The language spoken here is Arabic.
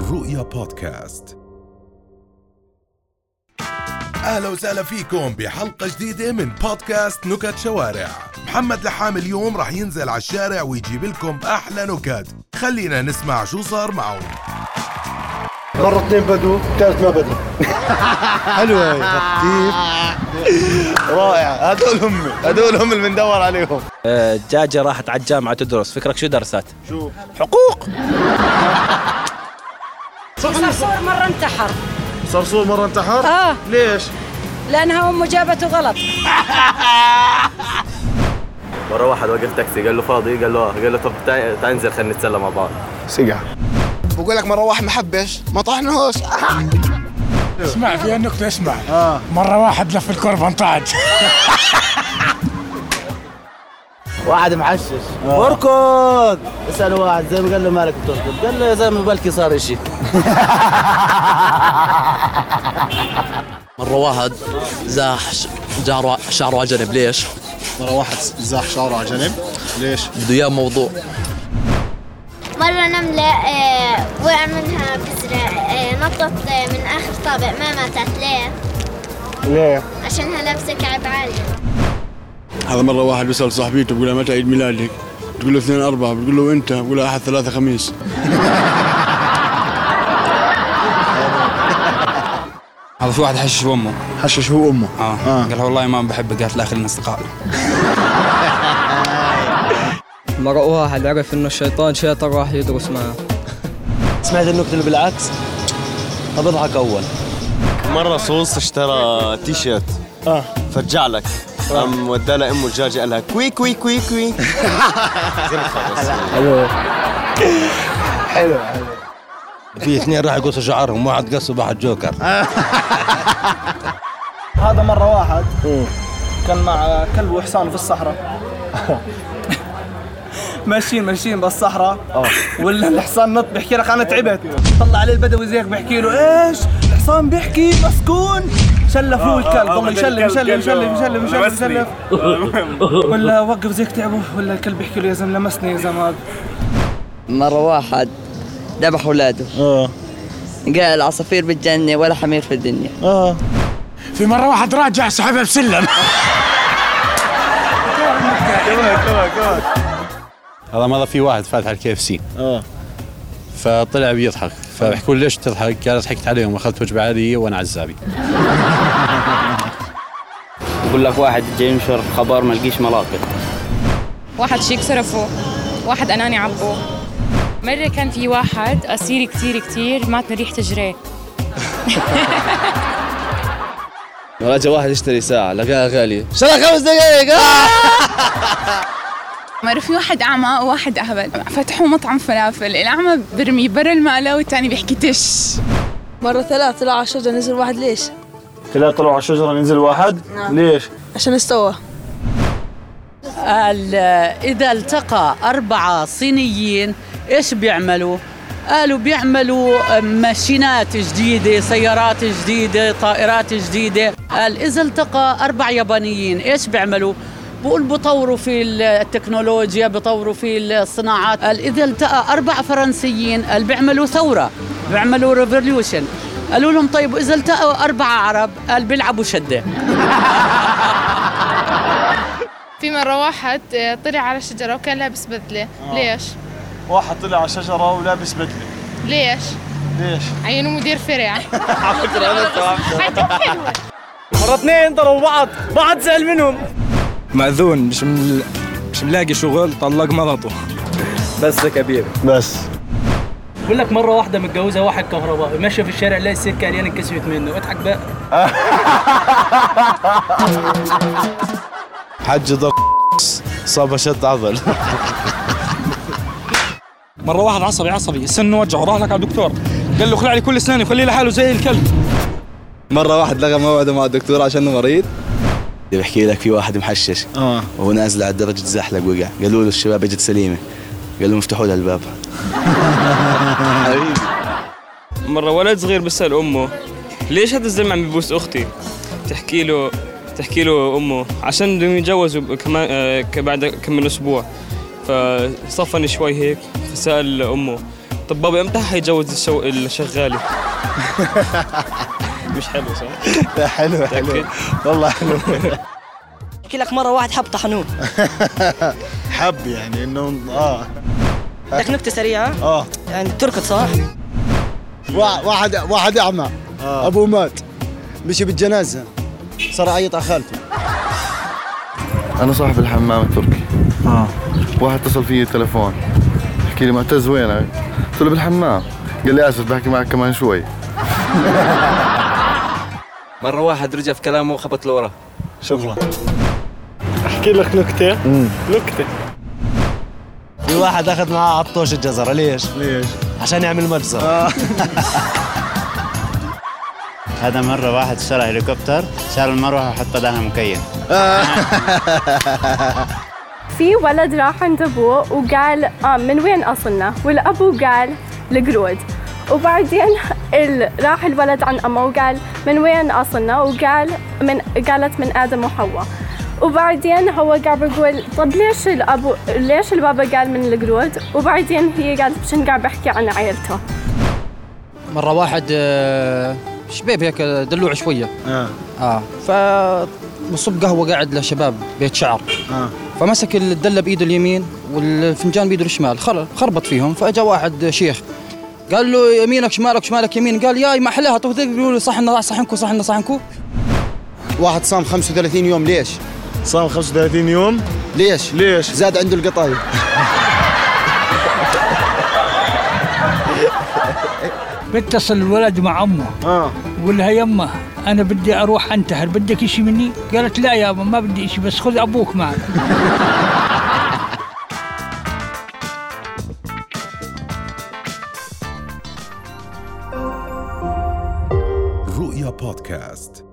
الرؤيا بودكاست اهلا وسهلا فيكم بحلقه جديده من بودكاست نكت شوارع محمد لحام اليوم راح ينزل على الشارع ويجيب لكم احلى نكت خلينا نسمع شو صار معه مرة اثنين بدو، ثالث ما بدو. حلوة هي كيف؟ رائعة، هذول هم، هذول هم اللي بندور عليهم. آه، الدجاجة راحت على الجامعة تدرس فكرك شو درست؟ شو؟ حقوق صرصور مرة انتحر صرصور مرة انتحر؟ آه. ليش؟ لأنها أمه جابته غلط مره واحد وقف تاكسي قال له فاضي قال له آه. قال له طب تعال تعال ننزل خلينا نتسلى مع بعض سقعة. بقول لك مره واحد محبش ما طحنهوش اسمع فيها نكتة اسمع آه. مرة واحد لف الكرة انطعج واحد محشش اركض اساله واحد زي ما قال له مالك بتركض قال له يا زلمه بلكي صار اشي مرة واحد زاح ش- جعره شعره على جنب ليش؟ مرة واحد زاح شعره على جنب، ليش؟ بده اياه موضوع مرة نملة آه، وقع منها بذرة آه، نطت آه، من آخر طابق ما ماتت ليه؟ ليه؟ عشانها لابسة كعب عالي هذا مره واحد بيسال صاحبيته بيقول لها متى عيد ميلادك؟ بتقول له اثنين اربعه بتقول له انت بتقول له احد ثلاثه خميس هذا في واحد حشش امه حشش هو أمه. اه, آه. قال لها والله ما بحبك قالت لا خلينا اصدقاء مرة واحد عرف انه الشيطان شيطان راح يدرس معه سمعت النكته اللي بالعكس طب اضحك اول مره صوص اشترى تي شيرت آه. فرجع لك قام ودى لها امه الدجاجه قال لها كوي كوي كوي كوي في اثنين راح يقصوا شعرهم، واحد قص وواحد جوكر. هذا مره واحد كان مع كلب وحصان في الصحراء ماشيين ماشيين بالصحراء ولا الحصان نط بيحكي لك انا تعبت طلع عليه البدوي زيك بيحكي له ايش الحصان بيحكي مسكون شلفوه الكلب والله يشلف يشلف يشلف يشلف يشلف يشلف ولا وقف زيك تعبه ولا الكلب بيحكي له يا زلمه لمسني يا زلمه مرة واحد ذبح ولاده قال العصافير بالجنة ولا حمير في الدنيا في مرة واحد راجع سحبها بسلم هذا مره في واحد فاتح الكي اف سي آه. فطلع بيضحك فبحكوا له ليش تضحك؟ قال ضحكت عليهم اخذت وجبه عاديه وانا عزابي بقول لك واحد جاي ينشر خبر ما لقيش ملاقط واحد شيك صرفه واحد أناني عبوه مرة كان في واحد قصير كتير كتير مات من ريحة جريه مرة جا واحد يشتري ساعة لقاها غالية مرة في واحد أعمى وواحد أهبل فتحوا مطعم فلافل الأعمى برمي برا المقلاة والتاني بيحكي تش مرة ثلاث طلع على الشجرة نزل واحد ليش؟ ثلاثة طلعوا على الشجرة ننزل واحد، نعم. ليش؟ عشان استوى قال إذا التقى أربعة صينيين إيش بيعملوا؟ قالوا بيعملوا ماشينات جديدة سيارات جديدة طائرات جديدة قال إذا التقى أربع يابانيين إيش بيعملوا؟ بقول بطوروا في التكنولوجيا بطوروا في الصناعات قال إذا التقى أربع فرنسيين قال بيعملوا ثورة بيعملوا ريفوليوشن قالوا لهم طيب إذا التقوا أربعة عرب قال بيلعبوا شدة في مرة واحد آه، طلع على الشجرة وكان لابس بدلة ليش؟ آه. واحد طلع على الشجرة ولابس بدلة، ليش؟ ليش؟ عينه مدير فرع مرة اثنين ضربوا بعض بعض زعل منهم مأذون مش مل... مش ملاقي شغل طلق مرضه بس كبير بس. بقول لك مرة واحدة متجوزة واحد كهربائي ماشية في الشارع لقى السكة عريانة انكسرت منه اضحك بقى حج ضر صاب شد عضل. مرة واحد عصبي عصبي سنه وجعه راح لك على الدكتور قال له خلع لي كل اسناني وخليه لحاله زي الكلب مرة واحد لغى موعده مع الدكتور عشانه مريض بحكي لك في واحد محشش آه. وهو نازل على الدرج تزحلق وقع قالوا له الشباب اجت سليمة قالوا له افتحوا لها الباب مرة ولد صغير بيسأل أمه ليش هذا الزلمة عم ببوس أختي تحكي له تحكي له أمه عشان بدهم يتجوزوا ب- كمان آه، ك- بعد كم من أسبوع فصفن شوي هيك فسأل أمه طب بابا امتى حيجوز الشو... الشغالة؟ مش حلو صح؟ لا حلو حلو والله حلو احكي لك مره واحد حب طحنوه حب يعني انه اه لك نكته سريعه اه يعني تركض صح؟ وا- واحد واحد اعمى ابوه مات مشي بالجنازه صار عيط على خالته انا صاحب الحمام التركي اه واحد اتصل فيي التليفون حكي لي معتز وينك؟ قلت له بالحمام قال لي اسف بحكي معك كمان شوي مرة واحد رجع في كلامه وخبط لورا شكرا احكي لك نكته نكته في واحد اخذ معاه عطوش الجزرة ليش؟ ليش؟ عشان يعمل مجزرة هذا مرة واحد اشترى هليكوبتر شال المروحة وحطها لها مكيف في ولد راح عند ابوه وقال آه من وين اصلنا والابو قال القرود وبعدين ال... راح الولد عن امه وقال من وين اصلنا وقال من قالت من ادم وحواء وبعدين هو قاعد بقول طب ليش الابو ليش البابا قال من القرود وبعدين هي قالت بشن قاعد بحكي عن عيلته مره واحد آه، شباب هيك دلوع شويه اه اه فمصب قهوه قاعد لشباب بيت شعر اه فمسك الدله بايده اليمين والفنجان بايده الشمال خل- خربط فيهم فاجا واحد شيخ قال له يمينك شمالك شمالك يمين قال ياي ما احلاها طب ذيك بيقولوا صحن صحنكو صحن صحنكو واحد صام 35 يوم ليش؟ صام 35 يوم ليش؟ ليش؟ زاد عنده القطايف بتصل الولد مع امه اه بقول لها يمه انا بدي اروح انتحر بدك اشي مني؟ قالت لا يابا ما بدي اشي بس خذ ابوك معك رؤيا بودكاست